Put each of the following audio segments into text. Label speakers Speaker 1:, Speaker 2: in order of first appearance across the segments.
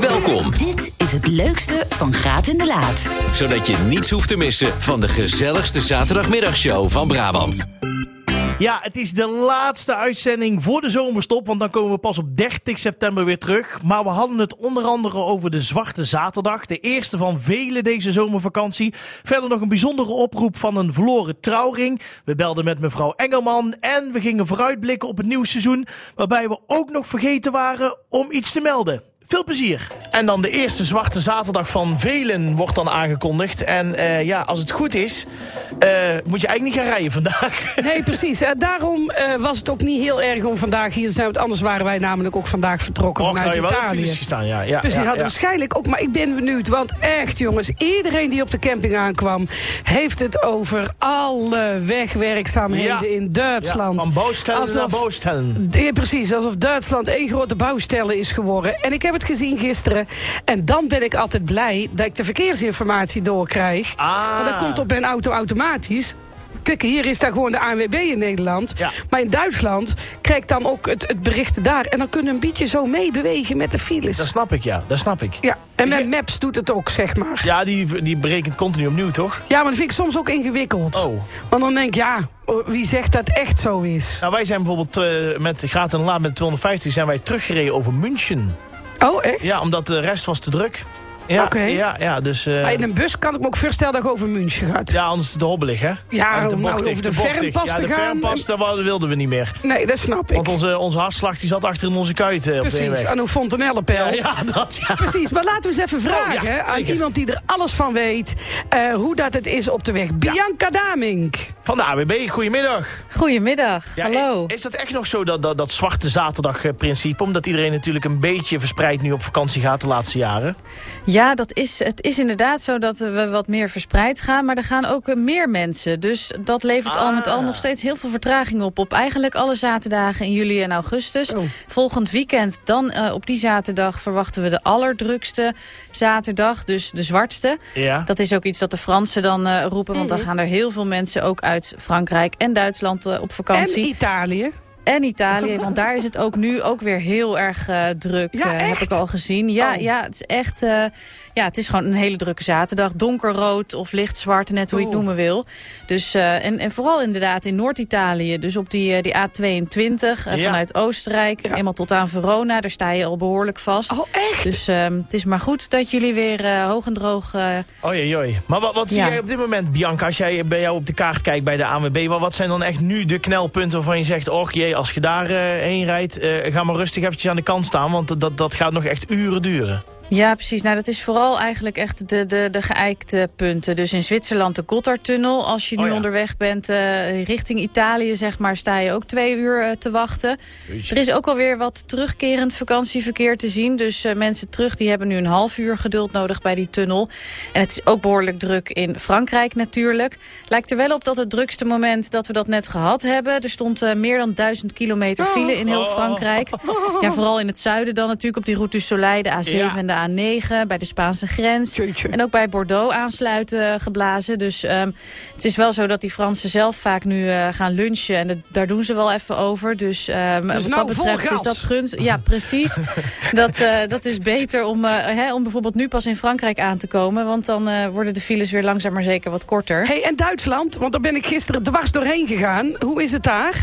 Speaker 1: Welkom,
Speaker 2: Dit is het leukste van Graat in de Laat.
Speaker 1: zodat je niets hoeft te missen van de gezelligste zaterdagmiddagshow van Brabant.
Speaker 3: Ja, het is de laatste uitzending voor de zomerstop, want dan komen we pas op 30 september weer terug. Maar we hadden het onder andere over de Zwarte Zaterdag, de eerste van vele deze zomervakantie. Verder nog een bijzondere oproep van een verloren trouwring. We belden met mevrouw Engelman en we gingen vooruitblikken op het nieuwe seizoen, waarbij we ook nog vergeten waren om iets te melden. Veel plezier. En dan de eerste Zwarte Zaterdag van velen wordt dan aangekondigd. En eh, ja, als het goed is, eh, moet je eigenlijk niet gaan rijden vandaag.
Speaker 4: Nee, precies. Eh, daarom eh, was het ook niet heel erg om vandaag hier te zijn. Want anders waren wij namelijk ook vandaag vertrokken
Speaker 3: Och,
Speaker 4: vanuit
Speaker 3: nou, je wel in
Speaker 4: Italië.
Speaker 3: files
Speaker 4: Precies,
Speaker 3: gestaan, ja. ja ja,
Speaker 4: hadden
Speaker 3: ja.
Speaker 4: waarschijnlijk ook. Maar ik ben benieuwd. Want echt, jongens, iedereen die op de camping aankwam... heeft het over alle wegwerkzaamheden
Speaker 3: Ja.
Speaker 4: in
Speaker 3: Ja,
Speaker 4: Duitsland.
Speaker 3: Van boostellen naar
Speaker 4: Alsof-
Speaker 3: boostellen.
Speaker 4: Ja, precies, alsof Duitsland één grote bouwstelle is geworden. En ik heb het gezien gisteren. En dan ben ik altijd blij dat ik de verkeersinformatie doorkrijg.
Speaker 3: Ah.
Speaker 4: Want dat komt op mijn auto automatisch. Kijk, hier is daar gewoon de ANWB in Nederland.
Speaker 3: Ja.
Speaker 4: Maar in Duitsland krijg ik dan ook het, het bericht daar. En dan kunnen we een beetje zo meebewegen met de files.
Speaker 3: Dat snap ik, ja. Dat snap ik.
Speaker 4: Ja, en met Maps doet het ook, zeg maar.
Speaker 3: Ja, die, die berekent continu opnieuw, toch?
Speaker 4: Ja, maar dat vind ik soms ook ingewikkeld.
Speaker 3: Oh.
Speaker 4: Want dan denk ik, ja, oh, wie zegt dat echt zo is?
Speaker 3: Nou, wij zijn bijvoorbeeld eh, met Graat en Laat met 250 zijn wij teruggereden over München.
Speaker 4: Oh, echt?
Speaker 3: Ja, omdat de rest was te druk. Ja,
Speaker 4: Oké.
Speaker 3: ja, ja, dus... eh,
Speaker 4: Maar in een bus kan ik me ook voorstellen dat je over München gaat.
Speaker 3: ja, anders te hobbelig, hè?
Speaker 4: Ja,
Speaker 3: En te
Speaker 4: om nou
Speaker 3: bochtig,
Speaker 4: over de
Speaker 3: te bochtig.
Speaker 4: verrenpas te
Speaker 3: Ja, de
Speaker 4: gaan.
Speaker 3: verrenpas, dat wa- dat wilden we niet meer.
Speaker 4: Nee, dat snap ik.
Speaker 3: Want onze, onze hartslag die zat achter in onze kuit eh, op de
Speaker 4: Precies,
Speaker 3: weg.
Speaker 4: aan een fontanellenpijl.
Speaker 3: Ja, ja, dat, ja.
Speaker 4: Precies, maar laten we eens even vragen
Speaker 3: Oh, ja,
Speaker 4: hè, aan
Speaker 3: zeker.
Speaker 4: iemand die er alles van weet... eh, hoe dat het is op de weg. Bianca Damink.
Speaker 3: Van de AWB, goedemiddag.
Speaker 5: Goedemiddag,
Speaker 3: Ja,
Speaker 5: hallo.
Speaker 3: i- Is dat echt nog zo, dat, dat, dat zwarte zaterdag-principe? Omdat iedereen natuurlijk een beetje verspreid nu op vakantie gaat de laatste jaren.
Speaker 5: Ja, dat is, het is inderdaad zo dat we wat meer verspreid gaan. Maar er gaan ook eh, meer mensen. Dus dat levert al met al
Speaker 3: Ah.
Speaker 5: nog steeds heel veel vertraging op. Op eigenlijk alle zaterdagen in juli en augustus.
Speaker 4: Oh.
Speaker 5: Volgend weekend, dan eh, op die zaterdag, verwachten we de allerdrukste zaterdag. Dus de zwartste.
Speaker 3: Ja.
Speaker 5: Dat is ook iets dat de Fransen dan eh, roepen. Want dan gaan er heel veel mensen ook uit Frankrijk en Duitsland eh, op vakantie.
Speaker 4: En Italië.
Speaker 5: En Italië, want daar is het ook nu ook weer heel erg eh, druk,
Speaker 4: Ja,
Speaker 5: eh, heb
Speaker 4: echt?
Speaker 5: ik al gezien. Ja,
Speaker 4: Oh.
Speaker 5: ja, het is echt, eh, ja, het is gewoon een hele drukke zaterdag. Donkerrood of lichtzwart, net hoe je het
Speaker 4: Oeh.
Speaker 5: noemen wil. Dus, eh, en, en vooral inderdaad in Noord-Italië, dus op die, eh, die A22 eh,
Speaker 3: Ja.
Speaker 5: vanuit Oostenrijk.
Speaker 4: Ja.
Speaker 5: Eenmaal tot aan Verona, daar sta je al behoorlijk vast.
Speaker 4: Oh, echt?
Speaker 5: Dus eh, het is maar goed dat jullie weer eh, hoog en droog... eh,
Speaker 3: Oei, oei. Maar wat, wat zie
Speaker 5: Ja.
Speaker 3: jij op dit moment, Bianca, als jij bij jou op de kaart kijkt bij de ANWB? Wat, wat zijn dan echt nu de knelpunten waarvan je zegt, och jee, als je daar eh, heen rijdt, eh, ga maar rustig eventjes aan de kant staan, want dat, dat gaat nog echt uren duren.
Speaker 5: Ja, precies. Nou, dat is vooral eigenlijk echt de, de, de geëikte punten. Dus in Zwitserland de Gotthardtunnel. Als je nu
Speaker 3: Oh ja.
Speaker 5: onderweg bent eh, richting Italië, zeg maar, sta je ook twee uur eh, te wachten. Er is ook alweer wat terugkerend vakantieverkeer te zien. Dus eh, mensen terug, die hebben nu een half uur geduld nodig bij die tunnel. En het is ook behoorlijk druk in Frankrijk natuurlijk. Lijkt er wel op dat het drukste moment dat we dat net gehad hebben. Er stond eh, meer dan duizend kilometer file in heel
Speaker 3: Oh.
Speaker 5: Frankrijk. Ja, vooral in het zuiden dan natuurlijk. Op die route du Soleil, de A7
Speaker 3: Ja.
Speaker 5: en de A9. Bij de Spaanse grens.
Speaker 4: Tjeutje.
Speaker 5: En ook bij Bordeaux aansluiten eh, geblazen. Dus ehm, het is wel zo dat die Fransen zelf vaak nu eh, gaan lunchen. En dat- daar doen ze wel even over. Dus, ehm, wat
Speaker 4: nou,
Speaker 5: dat
Speaker 4: vol
Speaker 5: betreft
Speaker 4: gas.
Speaker 5: is dat gunst. Ja, precies. dat, eh, dat is beter om, eh, hè, om bijvoorbeeld nu pas in Frankrijk aan te komen. Want dan eh, worden de files weer langzaam maar zeker wat korter.
Speaker 4: Hey, en Duitsland, want daar ben ik gisteren dwars doorheen gegaan. Hoe is het daar?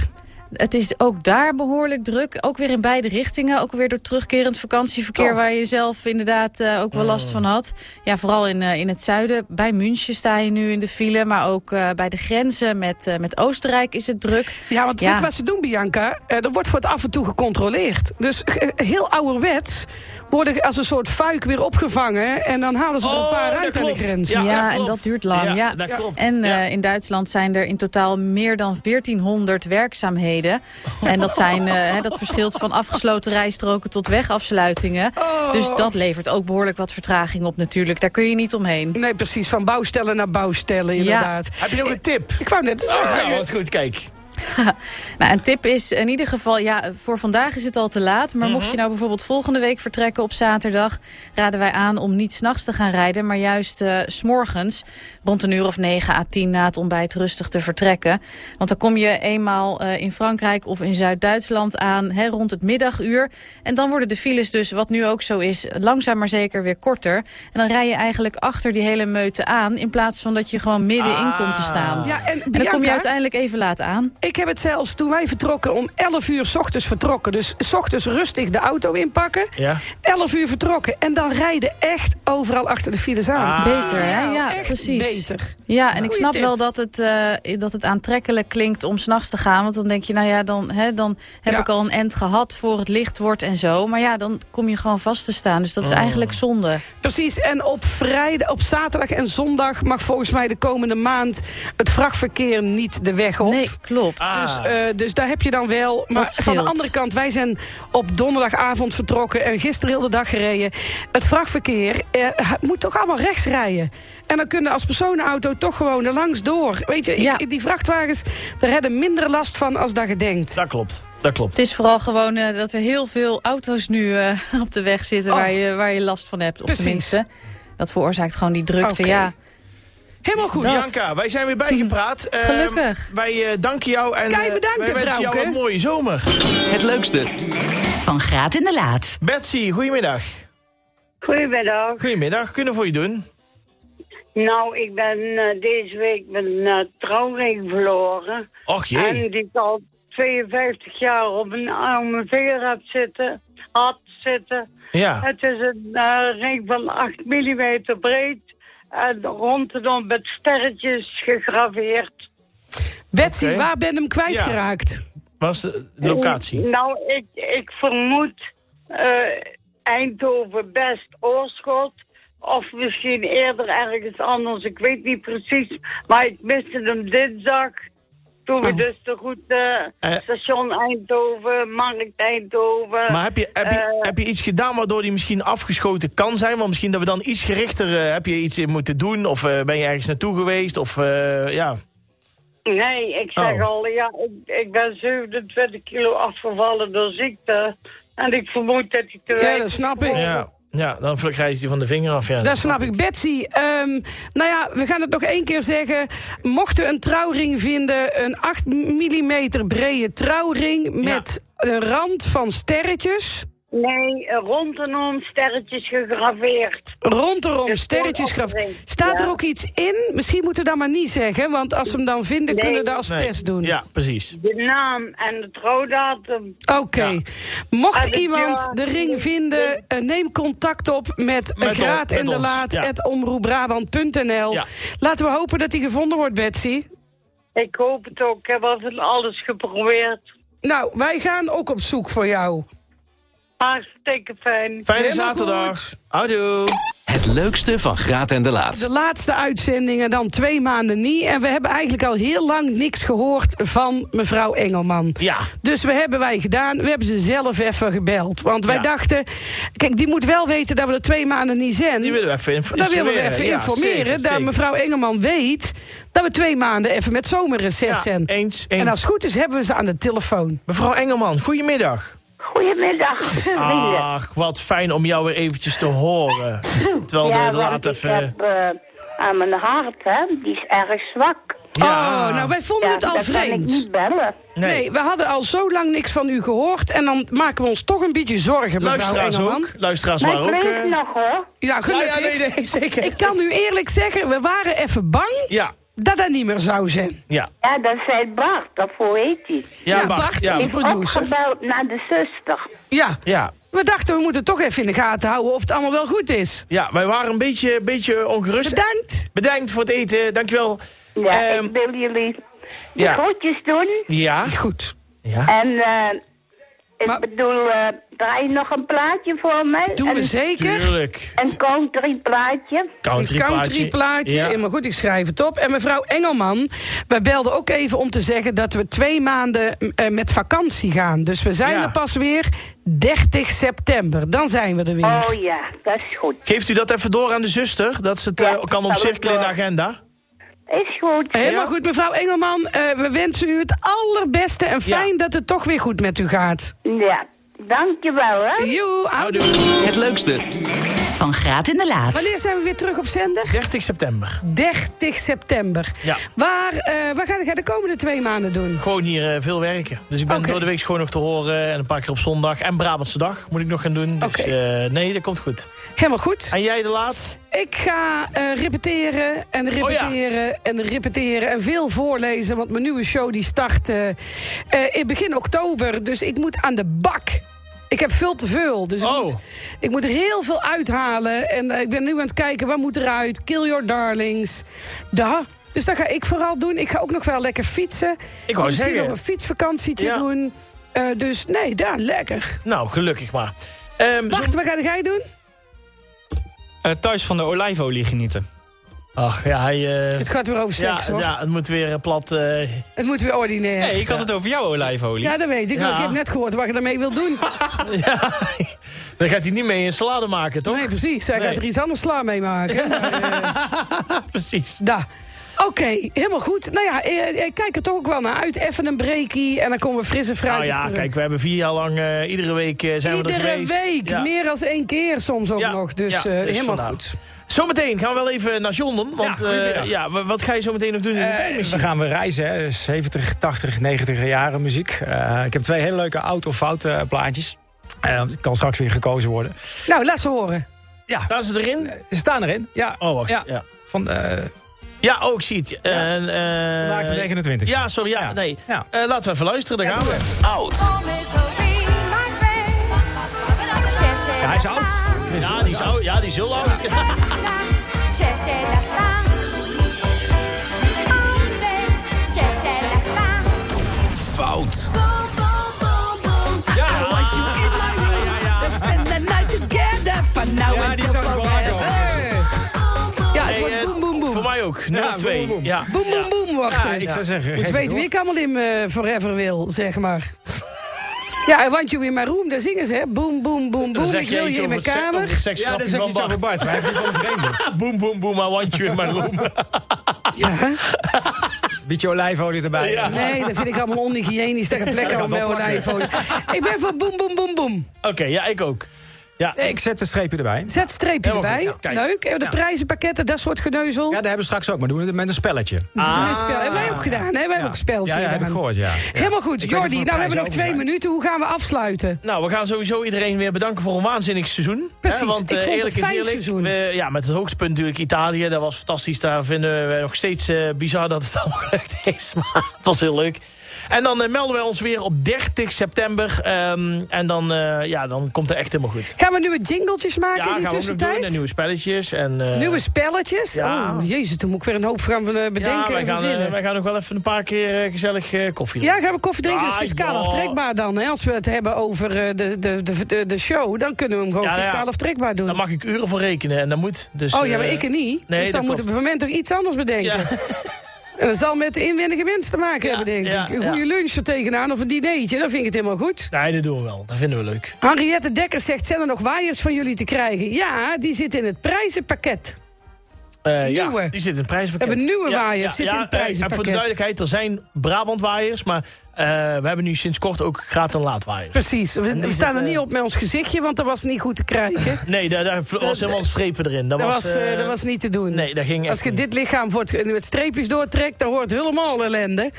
Speaker 5: Het is ook daar behoorlijk druk. Ook weer in beide richtingen. Ook weer door terugkerend vakantieverkeer...
Speaker 4: Toch.
Speaker 5: waar je zelf inderdaad eh, ook wel last van had. Ja, vooral in, eh, in het zuiden. Bij München sta je nu in de file. Maar ook eh, bij de grenzen met, eh, met Oostenrijk is het druk.
Speaker 4: Ja, want
Speaker 5: Ja.
Speaker 4: weet wat ze doen, Bianca? Eh, er wordt voor het af en toe gecontroleerd. Dus eh, heel ouderwets worden als een soort fuik weer opgevangen... en dan halen ze er een
Speaker 3: Oh,
Speaker 4: paar uit aan de grens.
Speaker 5: Ja, en
Speaker 3: klopt.
Speaker 5: dat duurt lang, ja.
Speaker 3: dat klopt.
Speaker 5: En
Speaker 3: Ja.
Speaker 5: eh, in Duitsland zijn er in totaal meer dan 1400 werkzaamheden. En dat, zijn, eh, hè, dat verschilt van afgesloten rijstroken tot wegafsluitingen.
Speaker 4: Oh.
Speaker 5: Dus dat levert ook behoorlijk wat vertraging op natuurlijk. Daar kun je niet omheen.
Speaker 4: Nee, precies, van bouwstellen naar bouwstellen, inderdaad.
Speaker 3: Heb je nog een tip?
Speaker 4: Ik wou net
Speaker 3: Oh,
Speaker 4: zeggen.
Speaker 3: nou, wat goed, kijk.
Speaker 5: Nou, een tip is in ieder geval, ja, voor vandaag is het al te laat. Maar
Speaker 4: Mhm.
Speaker 5: mocht je nou bijvoorbeeld volgende week vertrekken op zaterdag... raden wij aan om niet s'nachts te gaan rijden, maar juist eh, s s'morgens... rond een uur of 9 à 10 na het ontbijt rustig te vertrekken. Want dan kom je eenmaal eh, in Frankrijk of in Zuid-Duitsland aan hè, rond het middaguur. En dan worden de files dus, wat nu ook zo is, langzaam maar zeker weer korter. En dan rij je eigenlijk achter die hele meute aan... in plaats van dat je gewoon middenin komt te staan.
Speaker 4: Ah. Ja, en,
Speaker 5: En dan kom je
Speaker 4: Bianca,
Speaker 5: uiteindelijk even laat aan.
Speaker 4: Ik heb het zelfs toen wij vertrokken om 11 uur 's ochtends vertrokken. Dus 's ochtends rustig de auto inpakken.
Speaker 3: Ja.
Speaker 5: Dus,
Speaker 4: 11 uur vertrokken. En dan rijden echt overal achter de files aan.
Speaker 3: Ah.
Speaker 5: Beter, hè?
Speaker 4: Nou,
Speaker 5: Ja,
Speaker 4: echt
Speaker 5: precies.
Speaker 4: Beter.
Speaker 5: Ja, en ik
Speaker 4: Goeie
Speaker 5: snap
Speaker 4: tip.
Speaker 5: wel dat het, eh, dat het aantrekkelijk klinkt om s'nachts te gaan. Want dan denk je, nou ja, dan, hè, dan heb
Speaker 4: Ja.
Speaker 5: ik al een end gehad voor het licht wordt en zo. Maar ja, dan kom je gewoon vast te staan. Dus dat is eigenlijk zonde.
Speaker 4: Precies. En op vrijdag, op zaterdag en zondag mag volgens mij de komende maand het vrachtverkeer niet de weg op.
Speaker 5: Nee, klopt.
Speaker 4: Dus,
Speaker 3: Ah,
Speaker 4: eh, dus daar heb je dan wel. Maar van de
Speaker 5: Ah. scheelt.
Speaker 4: andere kant, wij zijn op donderdagavond vertrokken en gisteren heel de dag gereden. Het vrachtverkeer eh, ha- moet toch allemaal rechts rijden. En dan kunnen als personenauto toch gewoon er langs door. Weet je, ik-
Speaker 5: Ja.
Speaker 4: die vrachtwagens, daar hebben minder last van als dat je denkt.
Speaker 3: Dat klopt, dat klopt.
Speaker 5: Het is vooral gewoon eh, dat er heel veel auto's nu eh, op de weg zitten
Speaker 4: Oh.
Speaker 5: waar, je, waar je last van hebt. Of
Speaker 4: Precies.
Speaker 5: tenminste, dat veroorzaakt gewoon die drukte.
Speaker 4: Oké.
Speaker 5: Ja,
Speaker 4: Helemaal goed.
Speaker 3: Bianca, wij zijn weer bijgepraat. Ehm,
Speaker 5: Gelukkig.
Speaker 3: wij eh, danken jou en
Speaker 4: Kei
Speaker 3: eh,
Speaker 4: bedankt,
Speaker 3: wij wensen jou
Speaker 4: vrouwke.
Speaker 3: een mooie zomer.
Speaker 1: Het leukste,
Speaker 2: Van Graat in de Laat.
Speaker 3: Betsy, goedemiddag.
Speaker 6: Goedemiddag.
Speaker 3: Goedemiddag, kunnen we voor je doen?
Speaker 6: Nou, ik ben eh, deze week mijn eh, trouwring verloren.
Speaker 3: Och jee.
Speaker 6: En die ik al 52 jaar op een arme veer heb zitten, had zitten.
Speaker 3: Ja.
Speaker 6: Het is een eh, ring van 8 mm breed. En rondom met sterretjes gegraveerd.
Speaker 4: Betsy,
Speaker 3: Oké.
Speaker 4: waar ben hem kwijtgeraakt?
Speaker 3: Was de locatie?
Speaker 6: Nou, ik, ik vermoed eh, Eindhoven best Oorschot. Of misschien eerder ergens anders, ik weet niet precies. Maar ik miste hem dinsdag. Toen we
Speaker 4: Oh.
Speaker 6: dus de route
Speaker 3: Eh.
Speaker 6: station Eindhoven, markt Eindhoven.
Speaker 3: Maar heb je, heb, je,
Speaker 6: eh,
Speaker 3: heb je iets gedaan waardoor die misschien afgeschoten kan zijn? Want misschien dat we dan iets gerichter... eh, heb je iets in moeten doen? Of eh, ben je ergens naartoe geweest? Of eh, ja...
Speaker 6: Nee, ik zeg
Speaker 3: Oh.
Speaker 6: al, ja, ik, ik ben 27 kilo afgevallen door ziekte. En ik vermoed dat hij te
Speaker 4: Ja,
Speaker 6: wijten
Speaker 4: dat snap ik.
Speaker 3: Ja, ja dan krijg je die van de vinger af. Ja.
Speaker 4: Dat snap ik. Betsy, ehm, nou ja, we gaan het nog één keer zeggen. Mochten we een trouwring vinden, een 8 mm brede trouwring met een rand van sterretjes.
Speaker 6: Nee, eh, rondom sterretjes gegraveerd.
Speaker 4: Rondom
Speaker 6: Dus
Speaker 4: sterretjes
Speaker 6: gewoon
Speaker 4: graf.
Speaker 6: opgeringd,
Speaker 4: Staat er
Speaker 6: ja.
Speaker 4: ook iets in? Misschien moeten we dat maar niet zeggen, want als ze hem dan vinden, kunnen we dat als
Speaker 3: Nee.
Speaker 4: test doen.
Speaker 3: Ja, precies.
Speaker 6: De naam en de trouwdatum.
Speaker 4: Oké. Mocht
Speaker 6: Ah, dus
Speaker 4: iemand
Speaker 6: ja.
Speaker 4: de ring vinden, eh, neem contact op met,
Speaker 3: Met
Speaker 4: met
Speaker 3: ons,
Speaker 4: graad en
Speaker 3: met
Speaker 4: de
Speaker 3: ons,
Speaker 4: laat
Speaker 3: ja.
Speaker 4: at omroepbrabant.nl.
Speaker 3: Ja.
Speaker 4: Laten we hopen dat die gevonden wordt, Betsy.
Speaker 6: Ik hoop het ook. Ik heb al van alles geprobeerd.
Speaker 4: Nou, wij gaan ook op zoek voor jou.
Speaker 6: Hartstikke fijn.
Speaker 3: Fijne
Speaker 4: Helemaal
Speaker 3: zaterdag. Houdoe.
Speaker 1: het leukste van Graat en de Laat.
Speaker 4: De laatste uitzendingen dan twee maanden niet. En we hebben eigenlijk al heel lang niks gehoord van mevrouw Engelman.
Speaker 3: Ja.
Speaker 4: Dus we hebben wij gedaan, we hebben ze zelf even gebeld. Want wij
Speaker 3: Ja.
Speaker 4: dachten, kijk, die moet wel weten dat we er twee maanden niet zijn.
Speaker 3: Die willen we even inf-
Speaker 4: Daar willen we
Speaker 3: instrueren.
Speaker 4: even
Speaker 3: Ja,
Speaker 4: informeren.
Speaker 3: zeker,
Speaker 4: dat
Speaker 3: zeker.
Speaker 4: mevrouw Engelman weet dat we twee maanden even met zomerreces
Speaker 3: Ja,
Speaker 4: zijn.
Speaker 3: eens, eens.
Speaker 4: En als het goed is, hebben we ze aan de telefoon.
Speaker 3: Mevrouw Engelman, goedemiddag.
Speaker 6: Goedemiddag, vrienden.
Speaker 3: Ach, wat fijn om jou weer eventjes te horen. Terwijl de,
Speaker 7: Ja,
Speaker 3: de
Speaker 7: want
Speaker 3: laat
Speaker 7: ik
Speaker 3: even...
Speaker 7: heb eh, aan mijn hart, hè, die is erg zwak.
Speaker 3: Ja.
Speaker 4: Oh, nou, wij vonden
Speaker 7: Ja,
Speaker 4: het al
Speaker 7: dat kan ik
Speaker 4: vreemd.
Speaker 7: niet bellen.
Speaker 4: Nee. we hadden al zo lang niks van u gehoord. En dan maken we ons toch een beetje zorgen, mevrouw
Speaker 3: Luisteraars
Speaker 4: Engelman.
Speaker 3: ook. Luisteraars
Speaker 7: Maar
Speaker 3: waren
Speaker 7: ik
Speaker 3: ook...
Speaker 7: leef
Speaker 3: eh,
Speaker 7: nog hoor.
Speaker 4: Ja,
Speaker 3: ja,
Speaker 4: gelukkig.
Speaker 3: ja, nee, nee, zeker.
Speaker 4: Ik kan u eerlijk zeggen, we waren even bang
Speaker 3: Ja,
Speaker 4: dat dat niet meer zou zijn.
Speaker 3: ja.
Speaker 7: Ja, dat zei Bart, daarvoor heet hij.
Speaker 3: Ja,
Speaker 4: Ja,
Speaker 3: Bart.
Speaker 4: Bart
Speaker 3: ja.
Speaker 4: is- Producer.
Speaker 7: Ook gebeld naar de zuster.
Speaker 4: Ja,
Speaker 3: Ja.
Speaker 4: we dachten we moeten toch even in de gaten houden of het allemaal wel goed is.
Speaker 3: ja, wij waren een beetje, beetje ongerust.
Speaker 4: Bedankt.
Speaker 3: Bedankt voor het eten, dankjewel.
Speaker 7: Ja,
Speaker 3: Ehm,
Speaker 7: ik wil jullie de
Speaker 3: ja.
Speaker 7: groetjes doen.
Speaker 3: Ja.
Speaker 4: Goed.
Speaker 3: ja.
Speaker 7: En eh, ik
Speaker 4: Maar-
Speaker 7: bedoel, eh, draai nog een plaatje voor mij.
Speaker 4: Doen
Speaker 7: en,
Speaker 4: we zeker.
Speaker 3: Tuurlijk.
Speaker 7: Een country plaatje.
Speaker 4: Een
Speaker 3: Country,
Speaker 4: country plaatje.
Speaker 3: Ja.
Speaker 4: Maar goed, ik schrijf het op. En mevrouw Engelman, wij belden ook even om te zeggen dat we twee maanden eh, met vakantie gaan. Dus we zijn
Speaker 3: Ja.
Speaker 4: er pas weer 30 september. Dan zijn we er weer.
Speaker 7: Oh ja, dat is goed.
Speaker 3: Geeft u dat even door aan de zuster, dat ze het
Speaker 7: Ja,
Speaker 3: eh, kan
Speaker 7: dat
Speaker 3: ontcirkelen in de
Speaker 7: wel.
Speaker 3: agenda?
Speaker 7: Is goed.
Speaker 4: Helemaal goed, mevrouw Engelman. Eh, we wensen u het allerbeste en fijn dat het toch weer goed met u gaat.
Speaker 7: Ja, dankjewel hè.
Speaker 4: Joe, houdoe.
Speaker 1: Het leukste.
Speaker 2: Van Graat in de Laat.
Speaker 4: Wanneer zijn we weer terug op zender?
Speaker 3: 30 september.
Speaker 4: 30 september.
Speaker 3: Ja.
Speaker 4: Waar, eh waar ga jij de komende twee maanden doen?
Speaker 3: Gewoon hier eh, veel werken. Dus ik ben
Speaker 4: Oké.
Speaker 3: door de week gewoon nog te horen. En een paar keer op zondag. En Brabantse dag moet ik nog gaan doen. Dus
Speaker 4: Oké.
Speaker 3: eh, nee, dat komt goed.
Speaker 4: Helemaal goed.
Speaker 3: En jij de laat?
Speaker 4: Ik ga eh, repeteren en
Speaker 3: Oh
Speaker 4: repeteren en repeteren en veel voorlezen. Want mijn nieuwe show die start eh, eh, in begin oktober. Dus ik moet aan de bak. Ik heb veel te veel. Dus
Speaker 3: Oh.
Speaker 4: ik, moet, ik moet er heel veel uithalen. En eh, ik ben nu aan het kijken, wat moet eruit? Kill Your Darlings. Da. Dus dat ga ik vooral doen. Ik ga ook nog wel lekker fietsen.
Speaker 3: Ik wou
Speaker 4: Misschien nog
Speaker 3: zeggen.
Speaker 4: een fietsvakantietje
Speaker 3: Ja.
Speaker 4: doen. Eh, dus nee, daar, lekker.
Speaker 3: Nou, gelukkig maar. Ehm,
Speaker 4: Wacht,
Speaker 3: zo-
Speaker 4: wat ga jij doen?
Speaker 8: Eh, thuis van de olijfolie genieten.
Speaker 3: Ach, ja, hij... eh,
Speaker 4: Het gaat weer over seks,
Speaker 3: ja,
Speaker 4: hoor.
Speaker 3: ja, het moet weer eh, plat... eh,
Speaker 4: Het moet weer ordinair.
Speaker 8: Nee, ik had het over jouw olijfolie.
Speaker 4: Ja, dat weet ik. want
Speaker 3: Ja.
Speaker 4: Ik heb net gehoord wat je daarmee wil doen.
Speaker 3: ja, dan gaat hij niet mee een salade maken, toch?
Speaker 4: Nee, precies. Hij
Speaker 3: Nee.
Speaker 4: gaat er iets anders sla mee maken.
Speaker 3: Precies.
Speaker 4: Da. Oké, helemaal goed. Nou ja, eh, ik kijk er toch ook wel naar uit. Even een breakie en dan komen we frisse fruit
Speaker 3: Nou ja,
Speaker 4: terug.
Speaker 3: kijk, we hebben vier jaar lang... eh, iedere week eh, zijn we er
Speaker 4: Iedere
Speaker 3: geweest.
Speaker 4: week,
Speaker 3: Ja.
Speaker 4: meer dan één keer soms ook
Speaker 3: Ja,
Speaker 4: nog. Dus
Speaker 3: ja,
Speaker 4: eh,
Speaker 3: dus
Speaker 4: helemaal
Speaker 3: vandaar.
Speaker 4: goed.
Speaker 3: Zometeen gaan we wel even naar Jonden. Want
Speaker 8: Ja,
Speaker 3: ja,
Speaker 8: goedemiddag.
Speaker 3: ja, wa- wat ga je zo meteen nog doen in de
Speaker 8: Eh,
Speaker 3: tijdmachine?
Speaker 8: we gaan weer reizen, hè. 70, 80, 90 jaren muziek. Eh, ik heb twee hele leuke oud of fout eh, plaatjes. Eh, Het kan straks weer gekozen worden.
Speaker 4: Nou, laat ze horen.
Speaker 3: Staan ze erin?
Speaker 4: Eh,
Speaker 8: Ze staan erin. Ja,
Speaker 3: Oh, wacht. Ja,
Speaker 8: Ja.
Speaker 3: ja.
Speaker 8: van eh
Speaker 3: oh, ik zie het. En, eh,
Speaker 8: maart 29.
Speaker 3: Ja, sorry, ja, nee.
Speaker 8: Ja.
Speaker 3: Eh, laten we even luisteren, daar gaan we.
Speaker 1: Oud.
Speaker 8: Ja, hij is oud. Chris,
Speaker 3: Ja, die is oud. Ja, die is heel lang.
Speaker 1: Fout.
Speaker 8: Ja,
Speaker 4: Let's spend the night together from now
Speaker 8: Ja, die
Speaker 4: until
Speaker 8: zou ik wel hard
Speaker 4: forever. Ja, het
Speaker 3: Nee,
Speaker 4: wordt
Speaker 3: eh,
Speaker 4: boem, boem, boem.
Speaker 3: Voor mij ook. Nummer
Speaker 8: boem,
Speaker 3: twee.
Speaker 8: boem.
Speaker 3: Ja.
Speaker 4: Boem, boem, boem, wacht
Speaker 8: Ja,
Speaker 4: het.
Speaker 8: ik zou zeggen,
Speaker 4: Moet
Speaker 8: geef
Speaker 4: je
Speaker 8: het
Speaker 4: weten
Speaker 8: door.
Speaker 4: wie ik allemaal in me forever wil, zeg maar. Ja, I want you in my room, daar zingen ze, hè. Boom, boom, boom,
Speaker 3: Dan
Speaker 4: boom, ik wil je in mijn kamer.
Speaker 8: ja dat is ook
Speaker 3: van
Speaker 8: iets
Speaker 3: Bart.
Speaker 8: over Bart. Maar hij heeft niet van een vreemde.
Speaker 3: Boom, boom, boom, I want you in my room.
Speaker 4: Ja.
Speaker 8: Beetje olijfolie erbij.
Speaker 3: Ja.
Speaker 8: Ja.
Speaker 4: Nee, dat vind ik allemaal onhygiënisch. Daar kan plek
Speaker 8: kan
Speaker 4: aan bij
Speaker 8: wel
Speaker 4: een
Speaker 8: plakken.
Speaker 4: iPhone. Ik ben voor boem, boem, boem, boem.
Speaker 3: Oké, ja, ik ook. Ja,
Speaker 8: Ik zet een streepje erbij.
Speaker 4: Zet streepje
Speaker 3: Helemaal
Speaker 4: erbij.
Speaker 3: goed, ja. Kijk.
Speaker 4: Leuk. Eh, De prijzenpakketten, dat soort geneuzel.
Speaker 8: Ja, dat hebben we straks ook. Maar doen we het met een spelletje.
Speaker 3: Ah.
Speaker 4: Een spel. Hebben wij ook gedaan, hè? Wij hebben ook spels
Speaker 8: Nou Ja, ja, heb ik
Speaker 4: gedaan.
Speaker 8: gehoord, ja.
Speaker 4: Helemaal goed,
Speaker 8: Ik weet
Speaker 4: Jordi.
Speaker 8: niet
Speaker 4: Nou,
Speaker 8: of we
Speaker 4: we hebben nog
Speaker 8: prijzen
Speaker 4: twee
Speaker 8: over
Speaker 4: minuten. Hoe gaan we afsluiten?
Speaker 3: Nou, we gaan sowieso iedereen weer bedanken voor een waanzinnig seizoen.
Speaker 4: Precies,
Speaker 3: Hè, want
Speaker 4: ik
Speaker 3: eh,
Speaker 4: vond het
Speaker 3: eerlijk
Speaker 4: een
Speaker 3: is
Speaker 4: fijn
Speaker 3: eerlijk,
Speaker 4: seizoen.
Speaker 3: we- ja, met het hoogtepunt natuurlijk Italië. Dat was fantastisch. Daar vinden we nog steeds eh, bizar dat het allemaal gelukt is. Maar het was heel leuk. En dan eh, melden wij ons weer op 30 september. ehm, en dan, eh, ja, dan komt het echt helemaal goed.
Speaker 4: Gaan we nieuwe jingletjes maken
Speaker 3: ja,
Speaker 4: in
Speaker 3: gaan
Speaker 4: die
Speaker 3: we ook nog doen.
Speaker 4: tussentijd?
Speaker 3: En nieuwe spelletjes. En, eh,
Speaker 4: Nieuwe spelletjes?
Speaker 3: Ja.
Speaker 4: Oh, jezus, toen moet ik weer een hoop gaan eh,
Speaker 3: ja,
Speaker 4: bedenken
Speaker 3: wij
Speaker 4: en
Speaker 3: gaan, eh,
Speaker 4: verzinnen.
Speaker 3: wij gaan nog wel even een paar keer eh, gezellig eh, koffie
Speaker 4: ja, gaan we koffie drinken? Dat
Speaker 3: Ah,
Speaker 4: is fiscaal
Speaker 3: joh.
Speaker 4: aftrekbaar dan. Hè? Als we het hebben over eh, de, de, de, de, de show, dan kunnen we hem gewoon
Speaker 3: Ja, nou ja.
Speaker 4: fiscaal aftrekbaar doen.
Speaker 3: Daar mag ik uren voor rekenen. En dat moet. Dus,
Speaker 4: oh ja, maar
Speaker 3: eh,
Speaker 4: ik er niet.
Speaker 3: nee, dat
Speaker 4: dus dan moet
Speaker 3: klopt.
Speaker 4: het moment toch iets anders bedenken.
Speaker 3: ja.
Speaker 4: En dat zal met de inwendige mensen te maken
Speaker 3: Ja,
Speaker 4: hebben, denk
Speaker 3: ja,
Speaker 4: ik. Een
Speaker 3: ja.
Speaker 4: goede lunch er tegenaan of een dinertje, dan vind ik het helemaal goed.
Speaker 3: Nee, dat doen we wel. Dat vinden we leuk.
Speaker 4: Henriette Dekker zegt, zijn er nog waaiers van jullie te krijgen? Ja, die zitten in het prijzenpakket.
Speaker 3: Eh, Ja,
Speaker 4: Nieuwe.
Speaker 3: die zit in het prijzenpakket.
Speaker 4: We hebben nieuwe waaiers, zitten in het
Speaker 3: eh, En
Speaker 4: prijzenpakket.
Speaker 3: voor de duidelijkheid, er zijn Brabant waaiers, maar eh, we hebben nu sinds kort ook graat en laat waaiers.
Speaker 4: Precies. We, we
Speaker 3: zit,
Speaker 4: staan er
Speaker 3: eh,
Speaker 4: niet op met ons gezichtje, want dat was niet goed te krijgen.
Speaker 3: Nee, daar, daar was helemaal strepen erin. Dat,
Speaker 4: Dat
Speaker 3: was,
Speaker 4: was, eh,
Speaker 3: eh,
Speaker 4: dat was niet te doen.
Speaker 3: Nee, dat ging
Speaker 4: Als
Speaker 3: echt
Speaker 4: je
Speaker 3: niet.
Speaker 4: dit lichaam voor het, met streepjes doortrekt, dan hoort helemaal ellende.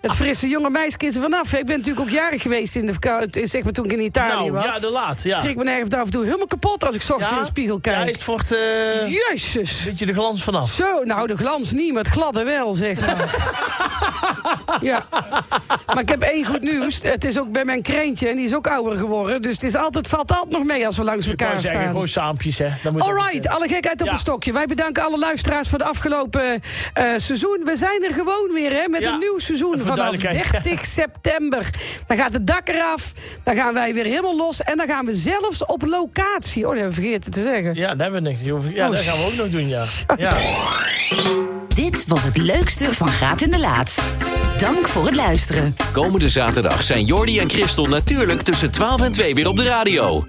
Speaker 4: Het frisse jonge meisje is er vanaf. Ik ben natuurlijk ook jarig geweest in de vakantie, zeg maar toen ik in Italië
Speaker 3: Nou,
Speaker 4: was.
Speaker 3: ja, de laat. Ja.
Speaker 4: Schrik me nergens af en toe helemaal kapot als ik 's ochtends
Speaker 3: Ja?
Speaker 4: in de spiegel
Speaker 3: Ja, is
Speaker 4: kijk.
Speaker 3: het voor het, eh, een
Speaker 4: Jezus!
Speaker 3: beetje de glans vanaf.
Speaker 4: Zo, nou de glans niet, maar het gladde wel, zeg maar. ja. Maar ik heb één goed nieuws. Het is ook bij mijn kreentje en die is ook ouder geworden. Dus het is altijd, valt altijd nog mee als we langs
Speaker 3: Je kan
Speaker 4: elkaar
Speaker 3: zeggen,
Speaker 4: staan.
Speaker 3: gewoon saampjes, hè. Dat moet ook,
Speaker 4: Alright,
Speaker 3: eh,
Speaker 4: alle gekheid op
Speaker 3: Ja.
Speaker 4: een stokje. Wij bedanken alle luisteraars voor de afgelopen eh, seizoen. We zijn er gewoon weer hè, met
Speaker 3: Ja,
Speaker 4: een nieuw seizoen
Speaker 3: voor
Speaker 4: vanaf
Speaker 3: duidelijkheid.
Speaker 4: 30 september. Dan gaat het dak eraf, dan gaan wij weer helemaal los... en dan gaan we zelfs op locatie. Oh, dat heb ik vergeten te zeggen.
Speaker 3: Ja, daar hebben we niks. Je hoeft- Ja,
Speaker 4: Oh,
Speaker 3: dat gaan we ook nog doen, ja. ja.
Speaker 2: Dit was het leukste van Graat in de Laat. Dank voor het luisteren.
Speaker 1: Komende zaterdag zijn Jordi en Christel natuurlijk tussen 12 en 2 weer op de radio.